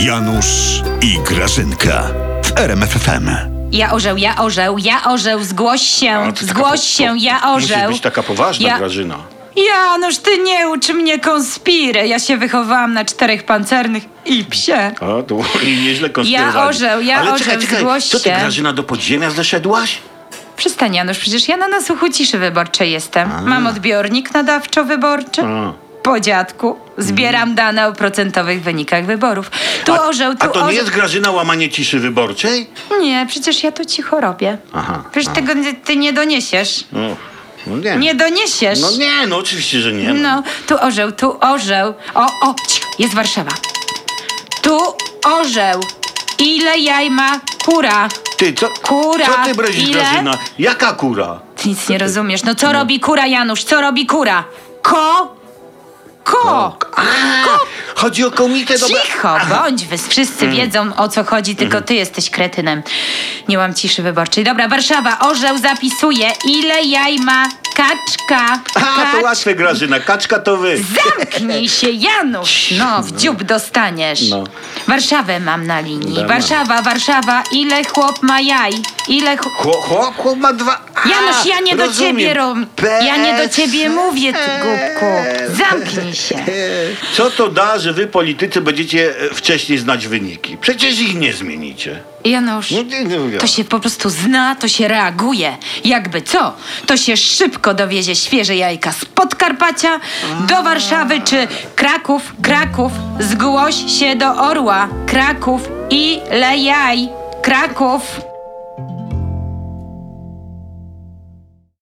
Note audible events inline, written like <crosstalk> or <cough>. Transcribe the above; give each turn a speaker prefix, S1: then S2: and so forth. S1: Janusz i Grażynka w RMFFM.
S2: Ja orzeł, ja orzeł, ja orzeł, zgłoś się,
S3: A, ty No, taka po-
S2: zgłoś się,
S3: po-
S2: ja orzeł.
S3: Musisz być taka poważna,
S2: Ja-
S3: Grażyna.
S2: Janusz, ty nie ucz mnie konspiry. Ja się wychowałam na czterech pancernych i psie.
S3: A, to <laughs> oni nieźle konspirowali.
S2: orzeł, ja
S3: Ale
S2: orzeł,
S3: czekaj, czekaj,
S2: zgłoś
S3: co ty,
S2: się.
S3: Grażyna, do podziemia zeszedłaś?
S2: Przestań, Janusz, przecież ja na nasłuchu ciszy wyborczej jestem. Mam odbiornik nadawczo-wyborczy.
S3: A. Mhm.
S2: Po dziadku zbieram dane o procentowych wynikach wyborów. Tu orzeł, tu
S3: A to
S2: orzeł.
S3: nie jest Grażyna łamanie ciszy wyborczej?
S2: Nie, przecież ja to cicho robię.
S3: Aha,
S2: Przecież tego nie- ty nie doniesiesz.
S3: No, no nie.
S2: Nie doniesiesz.
S3: No nie, no oczywiście, że nie.
S2: No, tu orzeł, tu orzeł. O, o, cii, jest Warszawa. Tu orzeł. Ile jaj ma kura?
S3: Ty, co,
S2: Kura,
S3: co ty brezisz,
S2: ile?
S3: Grażyna? Jaka kura?
S2: Ty nic nie rozumiesz. No co robi kura, Janusz? Co robi kura? Ko? Ko!
S3: Chodzi o komitę no do...
S2: Cicho, bądź wy. Wszyscy wiedzą o co chodzi, tylko ty jesteś kretynem. Nie mam ciszy wyborczej. Dobra, Warszawa, orzeł zapisuje. Ile jaj ma kaczka?
S3: A, to
S2: Kaczka.
S3: łatwe, Grażyna, kaczka to wy.
S2: Zamknij się, Janusz! No, w dziób dostaniesz.
S3: No.
S2: Warszawę mam na linii.
S3: Dobra.
S2: Warszawa, Warszawa, ile chłop ma jaj? Ile chłop...
S3: Chłop, chłop, chłop ma dwa... A,
S2: Janusz, ja nie do
S3: rozumiem. E.
S2: ciebie rom... Ja nie do ciebie mówię, ty głupku. Zamknij się.
S3: Co to da, że wy politycy będziecie e, wcześniej znać wyniki? Przecież ich nie zmienicie.
S2: Janusz,
S3: No, nie, nie mówię.
S2: to się po prostu zna, to się reaguje. Jakby co, to się szybko dowiezie świeże jajka z Podkarpacia do Warszawy czy Kraków. Kraków, zgłoś się do Orła. Kraków, ile jaj? Kraków.